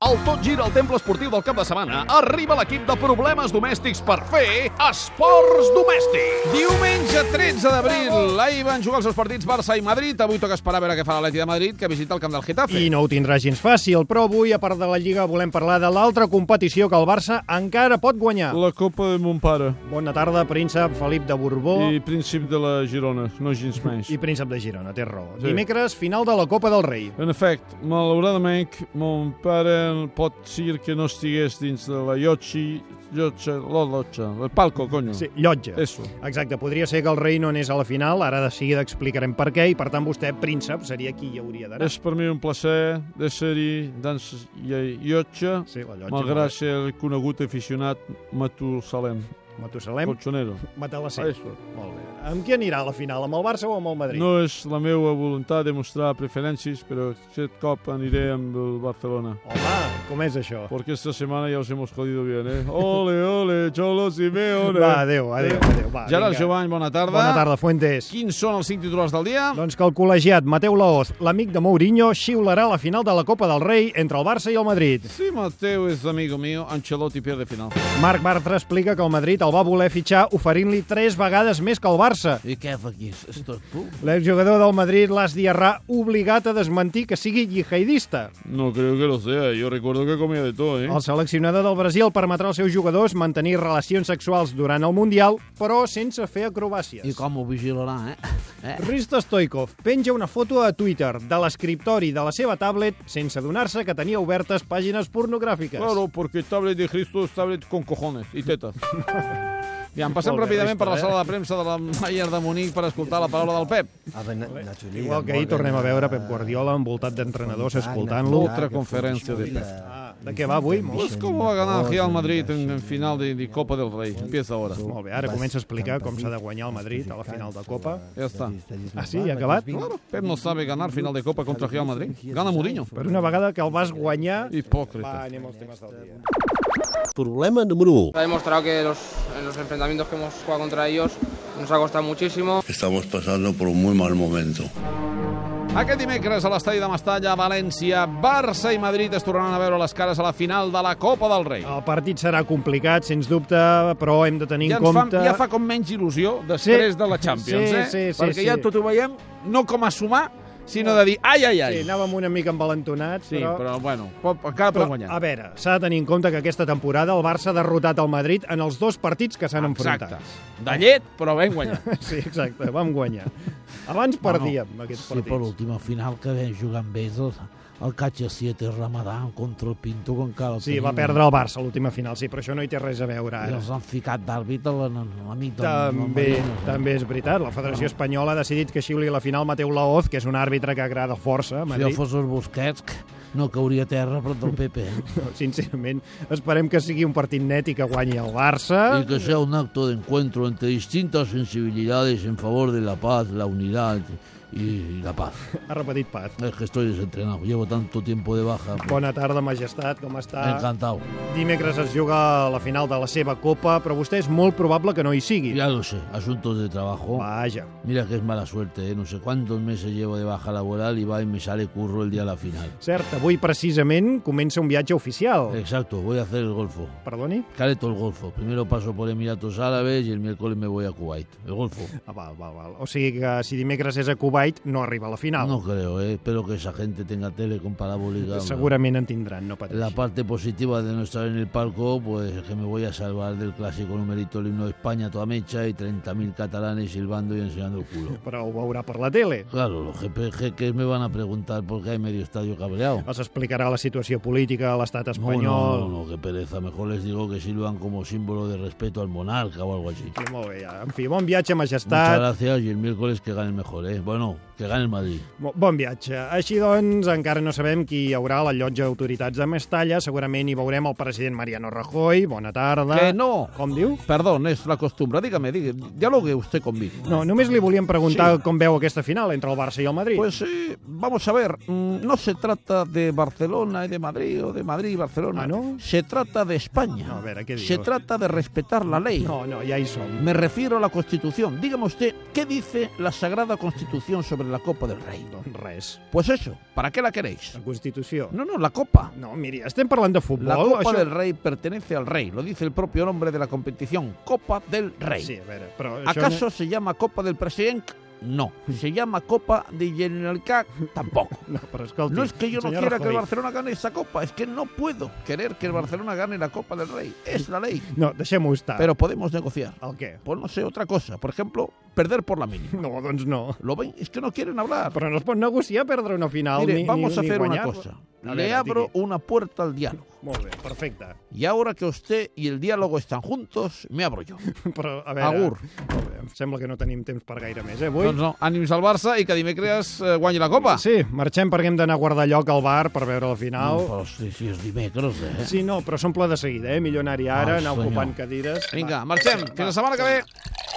Al Tot Gira al Temple Esportiu del cap de setmana arriba l'equip de problemes domèstics per fer esports domèstics. Diumenge 13 d'abril, ahir van jugar els seus partits Barça i Madrid. Avui toca esperar a veure què fa l'Atleti de Madrid, que visita el camp del Getafe. I no ho tindrà gens fàcil, però avui, a part de la Lliga, volem parlar de l'altra competició que el Barça encara pot guanyar. La Copa de mon pare Bona tarda, príncep Felip de Borbó i Príncip de la Girona, no gens més. Oh. i príncep de Girona, té raó. Sí. Dimecres, final de la Copa del Rei. En efecte, malauradament, mon pare pot ser que no estigués dins de la llotja, llotja, la llotja, el palco, coño. Sí, llotja. Eso. Exacte, podria ser que el rei no anés a la final, ara de seguida explicarem per què, i per tant vostè, príncep, seria qui hi hauria d'anar. És per mi un plaer de ser-hi dans la llotja, Sí, la llotja. malgrat ser el conegut aficionat Matusalem, Matusalem, colchonero. Matalacé. Eso. Molt bé. Amb qui anirà a la final, amb el Barça o amb el Madrid? No és la meva voluntat de mostrar preferències, però aquest cop aniré amb el Barcelona. Home, com és això? Porque esta semana ya os hemos jodido bien, ¿eh? Ole, ole, Cholo Simeone. Va, adéu, adéu, adéu. Va, Gerard vinga. Jovany, bona tarda. Bona tarda, Fuentes. Quins són els cinc titulars del dia? Doncs que el col·legiat Mateu Laoz, l'amic de Mourinho, xiularà la final de la Copa del Rei entre el Barça i el Madrid. Sí, Mateo és amigo mío, Ancelotti pierde final. Marc Bartra explica que el Madrid el va voler fitxar oferint-li tres vegades més que el Barça. I què fa aquí? És tot puc? L'exjugador del Madrid, Las Diarra, obligat a desmentir que sigui llihaidista. No creo que lo sea, yo recuerdo que comía de todo, ¿eh? El seleccionador del Brasil permetrà als seus jugadors mantenir relacions sexuals durant el Mundial, però sense fer acrobàcies. I com ho vigilarà, eh? eh? Risto Stoikov penja una foto a Twitter de l'escriptori de la seva tablet sense adonar-se que tenia obertes pàgines pornogràfiques. Claro, porque tablet de Cristo es tablet con cojones y tetas. Ja, em Molt passem bé, ràpidament per la Risto, sala de premsa de la Mayer de Munic per escoltar la paraula del Pep. Igual que ahir tornem a veure Pep Guardiola envoltat d'entrenadors escoltant-lo. Otra conferència de Pep. Ah, de què va avui? Molt Pues cómo va a ganar el Real Madrid en, en final de, de Copa del Rey. Empieza ahora. molt bé, ara comença a explicar com s'ha de guanyar el Madrid a la final de Copa. Ya está. Ah, sí? Ja ha acabat? Claro, Pep no sabe ganar final de Copa contra Real Madrid. Gana Mourinho. Per una vegada que el vas guanyar... Hipócrita. Va, anem als temes del dia. Problema número 1. Ha demostrado que los- en los enfrentamientos que hemos jugado contra ellos nos ha costado muchísimo. Estamos pasando por un muy mal momento. Aquest dimecres a l'estadi de Mestalla, a València, Barça i Madrid es tornaran a veure les cares a la final de la Copa del Rei. El partit serà complicat, sens dubte, però hem de tenir Ja, en ens fa, compte... ja fa com menys il·lusió després Sí. de la Champions, Sí, eh? sí, sí, Perquè ja sí. tot ho veiem no com a sumar, sinó de dir ai, ai, ai. Sí, anàvem una mica envalentonats, Sí, però... però bueno, pot, encara Però, pot guanyar. a veure, s'ha de tenir en compte que aquesta temporada el Barça ha derrotat el Madrid en els dos partits que s'han enfrontat. Exacte. De llet, però ben guanyat. Sí, exacte, vam guanyar. Abans perdíem aquests Sí, per partits. l'última final que vam jugar amb ells, el, el Catxa 7 Ramadà contra el Pinto, que encara el Sí, va tenim. perdre el Barça a l'última final, sí, però això no hi té res a veure I ara. els han ficat d'àrbitre l'en- l'amic del... També, del Marino. també és veritat, la Federació Espanyola ha decidit que xiuli la final Mateu Laoz, que és un àrbitre que agrada força a Si jo Madrid. fos els Busquets, que no cauria a terra prop del PP. Sincerament, esperem que sigui un partit net i que guanyi el Barça. que sea un acto de encuentro entre distintas sensibilidades en favor de la paz, la unidad y la paz. Ha repetit pas. Es que estoy desentrenado, llevo tanto tiempo de baja. Bona tarda, majestat, com està? Encantado, ah. Dimecres es juga a la final de la seva Copa, però vostè és molt probable que no hi sigui. ya lo sé, asuntos de trabajo. Vaja. Mira que es mala suerte, ¿eh? no sé cuántos meses llevo de baja laboral y va y me sale curro el día de la final. Cert, avui precisament comença un viatge oficial. Exacto, voy a hacer el golfo. Perdoni? Haré todo el golfo. Primero paso por Emiratos Árabes y el miércoles me voy a Kuwait. El golfo. Ah, val, val, val. O sigui que si dimecres és a Kuwait, no arriba a la final. No creo, ¿eh? espero que esa gente tenga tele con parabólica. Segurament en tindran, no pateixi. La parte positiva de no estar en el palco, pues es que me voy a salvar del clásico numerito el himno de España a toda mecha y 30.000 catalanes silbando y enseñando el culo. Però ho veurà per la tele. Claro, los jepe- jeques me van a preguntar por qué hay medio estadio cabreado. Els explicarà la situació política a l'estat No, no, espanyol. no, no, qué pereza. Mejor les digo que sirvan como símbolo de respeto al monarca o algo así. Sí, molt bé, ja. En fi, bon viatge, Muchas majestat. gracias y el miércoles que gane el mejor, ¿eh? Bueno, que gane el Madrid. Mo- Bon viatge. Així doncs, encara no sabem qui hi haurà a la llotja d'autoritats de Mestalla. Segurament hi veurem el president Mariano Rajoy. Bona tarda. Que no. Com diu? Perdón, es la costumbre. Dígame, dígame, dialogue usted conmigo. No, només li volíem preguntar sí. com veu aquesta final entre el Barça i el Madrid. Pues eh, vamos a ver, mm, no se trata de Barcelona y de Madrid o de Madrid y Barcelona, Ah, ¿no? se trata de España. No, a ver, ¿a qué se digo? trata de respetar la ley. No, no, ja hi som. Me refiero a la Constitución. Dígame usted, ¿qué dice la Sagrada Constitución sobre sobre la Copa del Rey. Res. Pues eso, ¿para qué la queréis? La Constitució. No, no, la Copa. No, miri, estem parlant de futbol. La Copa això... del Rey pertenece al Rey, lo dice el propio nombre de la competición, Copa del Rey. Sí, a veure, però això... ¿Acaso se llama Copa del Presidente? No. ¿Se llama Copa de Generalitat? Tampoco. No, no però escolti, No es que yo no senyor quiera que el Rajoy. Barcelona gane esa copa, es que no puedo querer que el Barcelona gane la Copa del Rey. Es la ley. No, deixem-ho estar. Pero podemos negociar. El què? Pues no sé, otra cosa. Por ejemplo, perder por la mínima. No, doncs no. ¿Lo ven? Es que no quieren hablar. Però no es pot negociar perdre una final Mire, ni, vamos ni, a ni hacer una guanyar. cosa. A Le veure, abro digui. una puerta al diálogo. Molt bé, perfecte. Y ahora que usted y el diálogo están juntos, me abro yo. Però, a veure... Agur. Molt bé, em sembla que no tenim temps per gaire més, eh, avui? Doncs no, ànims al Barça i que dimecres eh, guanyi la Copa. Sí, marxem perquè hem d'anar a guardar lloc al bar per veure la final. Pues Oh, sí, sí, es dimecros, eh? Sí, no, però s'omple de seguida, eh? Millor anar-hi ara, Ai, anar senyor. ocupant cadires. Vinga, Va. marxem. Fins la setmana que ve.